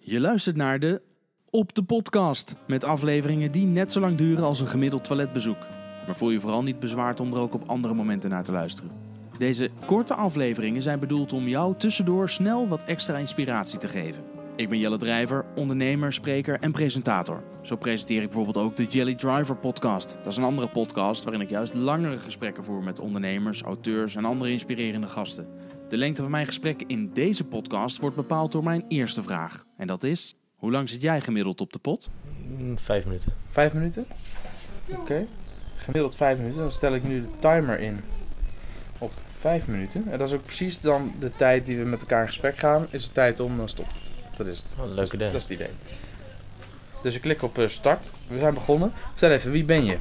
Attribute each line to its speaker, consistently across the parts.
Speaker 1: Je luistert naar de Op de Podcast. Met afleveringen die net zo lang duren als een gemiddeld toiletbezoek. Maar voel je vooral niet bezwaard om er ook op andere momenten naar te luisteren. Deze korte afleveringen zijn bedoeld om jou tussendoor snel wat extra inspiratie te geven. Ik ben Jelle Drijver, ondernemer, spreker en presentator. Zo presenteer ik bijvoorbeeld ook de Jelly Driver podcast. Dat is een andere podcast waarin ik juist langere gesprekken voer met ondernemers, auteurs en andere inspirerende gasten. De lengte van mijn gesprek in deze podcast wordt bepaald door mijn eerste vraag. En dat is, hoe lang zit jij gemiddeld op de pot?
Speaker 2: Mm, Vijf minuten.
Speaker 3: Vijf minuten? Oké. Gemiddeld vijf minuten. Dan stel ik nu de timer in op vijf minuten. En dat is ook precies dan de tijd die we met elkaar in gesprek gaan. Is de tijd om, dan stopt het. Dat is het.
Speaker 2: Wat een leuk idee.
Speaker 3: Dat is het idee. Dus ik klik op eh, start. We zijn begonnen. Vertel even, wie ben je?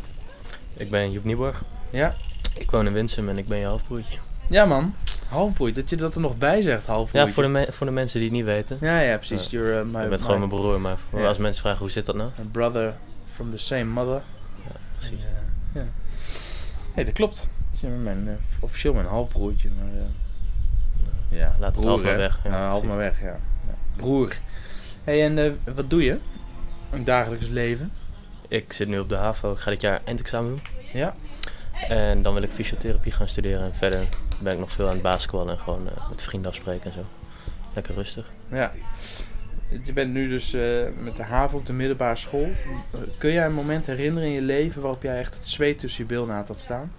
Speaker 2: Ik ben Joep Nieborg.
Speaker 3: Ja?
Speaker 2: Ik woon in Winsum en ik ben je halfbroertje.
Speaker 3: Ja man, halfboeit. Dat je dat er nog bij zegt, halfboeit.
Speaker 2: Ja, voor de, me- voor de mensen die het niet weten.
Speaker 3: Ja, ja, precies. You're eh, my,
Speaker 2: je bent
Speaker 3: my-
Speaker 2: gewoon mijn broer, maar voor-
Speaker 3: Ja.
Speaker 2: als mensen vragen hoe zit dat nou?
Speaker 3: my brother from the same mother.
Speaker 2: Precies.
Speaker 3: En, eh, ja. Nee, dat klopt. Dat is mijn, eh, officieel mijn halfbroertje, maar... eh, ja,
Speaker 2: laat het half maar
Speaker 3: hè?
Speaker 2: weg, ja,
Speaker 3: Ja, half
Speaker 2: precies.
Speaker 3: maar weg, ja. ja. Broer. hey, en eh, wat doe je? Een dagelijks leven?
Speaker 2: Ik zit nu op de HAVO. Ik ga dit jaar eindexamen doen.
Speaker 3: Ja.
Speaker 2: En dan wil ik fysiotherapie gaan studeren. En verder ben ik nog veel aan het basketballen en gewoon eh, met vrienden afspreken en zo. Lekker rustig.
Speaker 3: Ja. Je bent nu dus eh, met de haven op de middelbare school. Eh, Kun jij een moment herinneren in je leven waarop jij echt het zweet tussen je bilnaad had staan?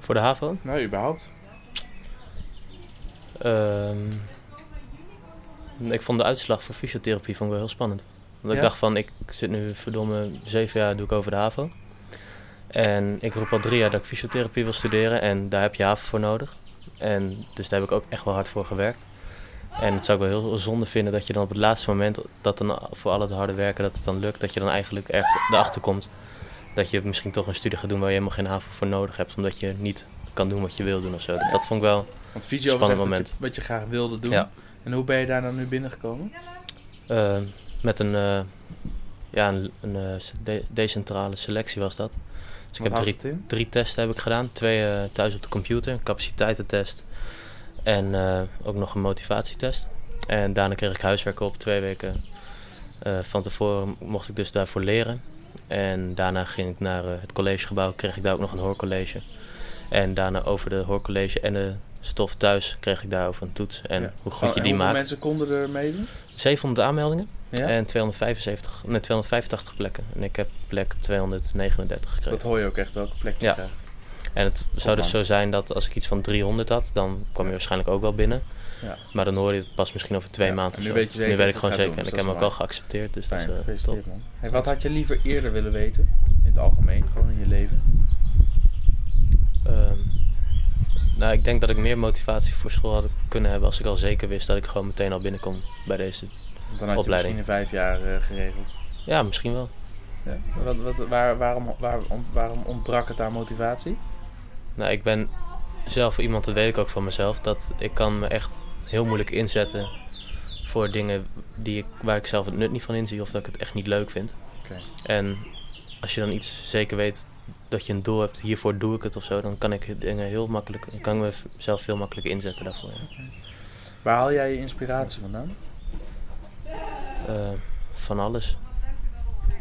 Speaker 2: Voor de HAVO?
Speaker 3: Nou, überhaupt.
Speaker 2: Ehm, ik vond de uitslag voor fysiotherapie vond ik wel heel spannend. Want ik
Speaker 3: Ja?
Speaker 2: dacht van, ik zit nu verdomme zeven jaar doe ik over de HAVO. En ik roep al drie jaar dat ik fysiotherapie wil studeren en daar heb je HAVO voor nodig. En dus daar heb ik ook echt wel hard voor gewerkt. En het zou ik wel heel zonde vinden dat je dan op het laatste moment, dat dan voor al het harde werken, dat het dan lukt. Dat je dan eigenlijk echt erachter komt dat je misschien toch een studie gaat doen waar je helemaal geen HAVO voor nodig hebt. Omdat je niet kan doen wat je wil doen of zo. Dat vond ik wel
Speaker 3: Want visio was
Speaker 2: Spannend
Speaker 3: echt wat
Speaker 2: moment.
Speaker 3: je, wat je graag wilde doen.
Speaker 2: Ja. Dus
Speaker 3: En hoe ben je daar dan nu binnengekomen?
Speaker 2: Eh, met een, eh, ja, een, een eh, se- de- decentrale selectie was dat. Dus
Speaker 3: Wat
Speaker 2: ik heb
Speaker 3: houdt
Speaker 2: drie,
Speaker 3: het in?
Speaker 2: drie testen heb ik gedaan. Twee eh, thuis op de computer, een capaciteitentest en eh, ook nog een motivatietest. En daarna kreeg ik huiswerk op twee weken eh, van tevoren mocht ik dus daarvoor leren. En daarna ging ik naar eh, het collegegebouw, kreeg ik daar ook nog een hoorcollege. En daarna over de hoorcollege en de stof thuis kreeg ik daarover een toets. En
Speaker 3: Ja.
Speaker 2: hoe goed
Speaker 3: Gewoon-
Speaker 2: je
Speaker 3: en
Speaker 2: die
Speaker 3: hoeveel
Speaker 2: maakt. Eh,
Speaker 3: mensen konden er meedoen?
Speaker 2: 700 aanmeldingen.
Speaker 3: Ja?
Speaker 2: En 275, nee, 285 plekken. En ik heb plek 239 gekregen.
Speaker 3: Dat hoor je ook echt welke plek je
Speaker 2: Ja.
Speaker 3: krijgt.
Speaker 2: En het zou dus
Speaker 3: man.
Speaker 2: zo zijn dat als ik iets van 300 had, dan kwam je waarschijnlijk ook wel binnen.
Speaker 3: Ja.
Speaker 2: Maar dan hoor je het pas misschien over twee
Speaker 3: Ja,
Speaker 2: maanden.
Speaker 3: en
Speaker 2: of
Speaker 3: nu
Speaker 2: zo.
Speaker 3: weet je zeker
Speaker 2: nu weet
Speaker 3: dat
Speaker 2: ik gewoon
Speaker 3: het gaat
Speaker 2: zeker. en
Speaker 3: doen, dus
Speaker 2: ik heb hem
Speaker 3: dat
Speaker 2: ook
Speaker 3: is
Speaker 2: al geaccepteerd. Dus
Speaker 3: Fijn,
Speaker 2: dat is eh, top.
Speaker 3: gefeliciteerd man. Hey, wat had je liever eerder willen weten? In het algemeen, gewoon in je leven.
Speaker 2: Ehm, nou, ik denk dat ik meer motivatie voor school had kunnen hebben als ik al zeker wist dat ik gewoon meteen al binnenkom bij deze.
Speaker 3: Want dan had je
Speaker 2: Opleiding.
Speaker 3: misschien in vijf jaar eh, geregeld.
Speaker 2: Ja, misschien wel.
Speaker 3: Ja? Wat, wat, waar, waarom, waarom, waarom ontbrak het aan motivatie?
Speaker 2: Nou, ik ben zelf iemand, dat weet ik ook van mezelf, dat ik kan me echt heel moeilijk inzetten voor dingen die ik, waar ik zelf het nut niet van inzie of dat ik het echt niet leuk vind.
Speaker 3: Oké.
Speaker 2: En als je dan iets zeker weet dat je een doel hebt, hiervoor doe ik het of zo, dan kan ik dingen heel makkelijk, kan ik mezelf heel makkelijk inzetten daarvoor. Ja.
Speaker 3: Waar haal jij je inspiratie vandaan?
Speaker 2: Eh, van alles.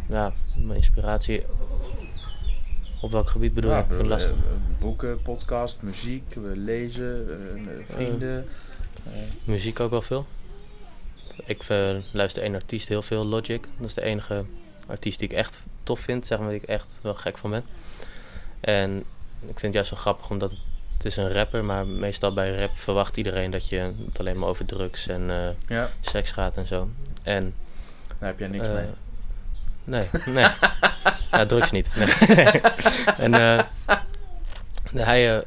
Speaker 2: Ja, mijn inspiratie. Op welk gebied bedoel
Speaker 3: Ja,
Speaker 2: je? Vind ik
Speaker 3: bedoel,
Speaker 2: lastig.
Speaker 3: eh, eh, boeken, podcast, muziek, we lezen, eh, eh, vrienden. eh,
Speaker 2: Muziek ook wel veel. Ik eh, luister één artiest heel veel, Logic. Dat is de enige artiest die ik echt tof vind, zeg maar, die ik echt wel gek van ben. En ik vind het juist wel grappig, omdat het, het is een rapper, maar meestal bij rap verwacht iedereen dat je het alleen maar over drugs en eh,
Speaker 3: ja,
Speaker 2: seks gaat en zo. En
Speaker 3: daar heb jij niks
Speaker 2: eh,
Speaker 3: mee.
Speaker 2: Nee, nee. ja, drugs niet. Nee. en eh, hij eh,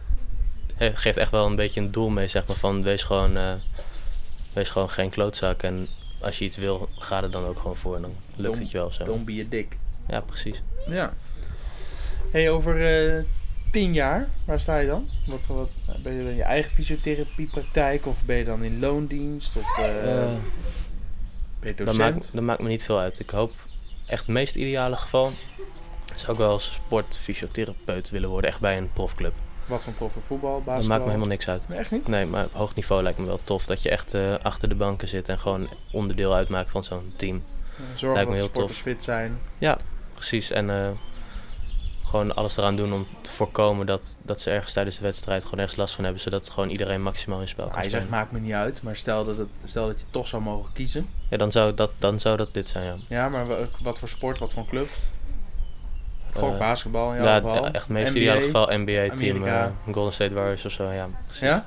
Speaker 2: hij geeft echt wel een beetje een doel mee, zeg maar, van wees gewoon, eh, wees gewoon geen klootzak. En als je iets wil, ga er dan ook gewoon voor en dan lukt
Speaker 3: Dom-
Speaker 2: het je wel zo.
Speaker 3: Don't be a dick.
Speaker 2: Ja, precies.
Speaker 3: Ja. hey, over eh, tien jaar, waar sta je dan? Wat, wat, ben je in je eigen fysiotherapiepraktijk of ben je dan in loondienst of eh,
Speaker 2: Eh,
Speaker 3: ben je
Speaker 2: dat,
Speaker 3: docent?
Speaker 2: maakt, dat maakt me niet veel uit. Ik hoop echt het meest ideale geval zou ik wel als sportfysiotherapeut willen worden, echt bij een profclub.
Speaker 4: Wat voor prof voor voetbal, basketbal?
Speaker 2: Dat maakt me helemaal niks uit.
Speaker 4: Nee, echt niet?
Speaker 2: Nee, maar op hoog niveau lijkt me wel tof dat je echt eh, achter de banken zit en gewoon onderdeel uitmaakt van zo'n team.
Speaker 4: Zorgen
Speaker 2: Lijkt me
Speaker 4: Eh, dat de
Speaker 2: heel
Speaker 4: sporters
Speaker 2: tof.
Speaker 4: fit zijn.
Speaker 2: Precies, en eh, gewoon alles eraan doen om te voorkomen dat, dat ze ergens tijdens de wedstrijd gewoon ergens last van hebben, zodat gewoon iedereen maximaal in spel kan
Speaker 4: Ah, je zegt,
Speaker 2: spelen.
Speaker 4: maakt me niet uit. Maar stel dat, het, stel dat je toch zou mogen kiezen.
Speaker 2: Ja, dan zou dat, dan zou dat dit zijn, ja.
Speaker 4: Ja, maar wa- eh, wat voor sport, wat voor een club? Gewoon
Speaker 2: Eh,
Speaker 4: basketbal in jouw
Speaker 2: Ja,
Speaker 4: geval.
Speaker 2: d- echt het meest
Speaker 4: NBA.
Speaker 2: ideale geval NBA-team,
Speaker 4: Amerika.
Speaker 2: eh, Golden State Warriors of zo, ja. precies.
Speaker 4: Ja?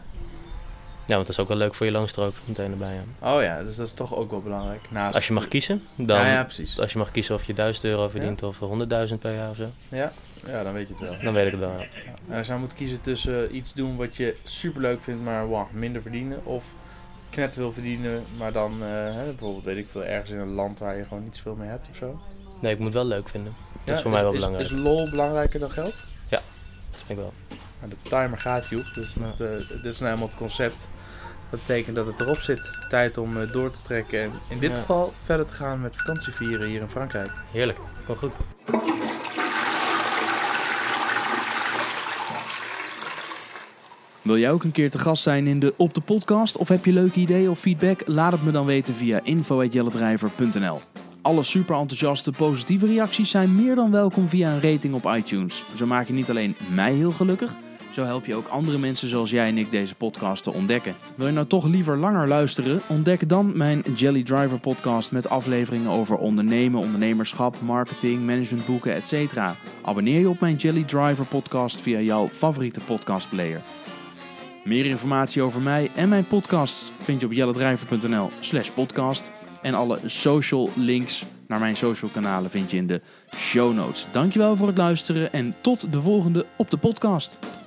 Speaker 2: Ja, want dat is ook wel leuk voor je loonstrook meteen erbij, ja.
Speaker 4: Oh ja, dus dat is toch ook wel belangrijk. Naast
Speaker 2: Als je mag kiezen, dan...
Speaker 4: Ja, ja, precies.
Speaker 2: Als je mag kiezen of je 1000 euro verdient of 100.000 per jaar of zo,
Speaker 4: Ja, dan weet je het wel.
Speaker 2: dan weet ik het wel. ja.
Speaker 4: Ja. En Als je nou moet kiezen tussen iets doen wat je superleuk vindt, maar wow, minder verdienen. Of knet wil verdienen, maar dan eh, hè, bijvoorbeeld, weet ik veel, ergens in een land waar je gewoon niet zoveel mee hebt of zo.
Speaker 2: Nee, ik moet het wel leuk vinden. Dat
Speaker 4: Ja,
Speaker 2: is voor mij wel belangrijk.
Speaker 4: Is lol belangrijker dan geld?
Speaker 2: Dat vind ik wel.
Speaker 4: Nou, de timer gaat, Joep. Dus
Speaker 2: Ja.
Speaker 4: dat, eh, dit is nou helemaal het concept. Dat betekent dat het erop zit. Tijd om eh, door te trekken en in dit
Speaker 2: Ja.
Speaker 4: geval verder te gaan met vakantie vieren hier in Frankrijk.
Speaker 2: Heerlijk, gewoon goed.
Speaker 3: Wil jij ook een keer te gast zijn in de Op de Podcast? Of heb je leuke ideeën of feedback? Laat het me dan weten via info.jellendrijver.nl Alle super enthousiaste positieve reacties zijn meer dan welkom via een rating op iTunes. Zo maak je niet alleen mij heel gelukkig, zo help je ook andere mensen zoals jij en ik deze podcast te ontdekken. Wil je nou toch liever langer luisteren? Ontdek dan mijn Jelly Driver podcast met afleveringen over ondernemen, ondernemerschap, marketing, managementboeken, etc. Abonneer je op mijn Jelly Driver podcast via jouw favoriete podcastplayer. Meer informatie over mij en mijn podcast vind je op jellendrijver.nl slash podcast. En alle social links naar mijn social kanalen vind je in de show notes. Dankjewel voor het luisteren en tot de volgende op de podcast.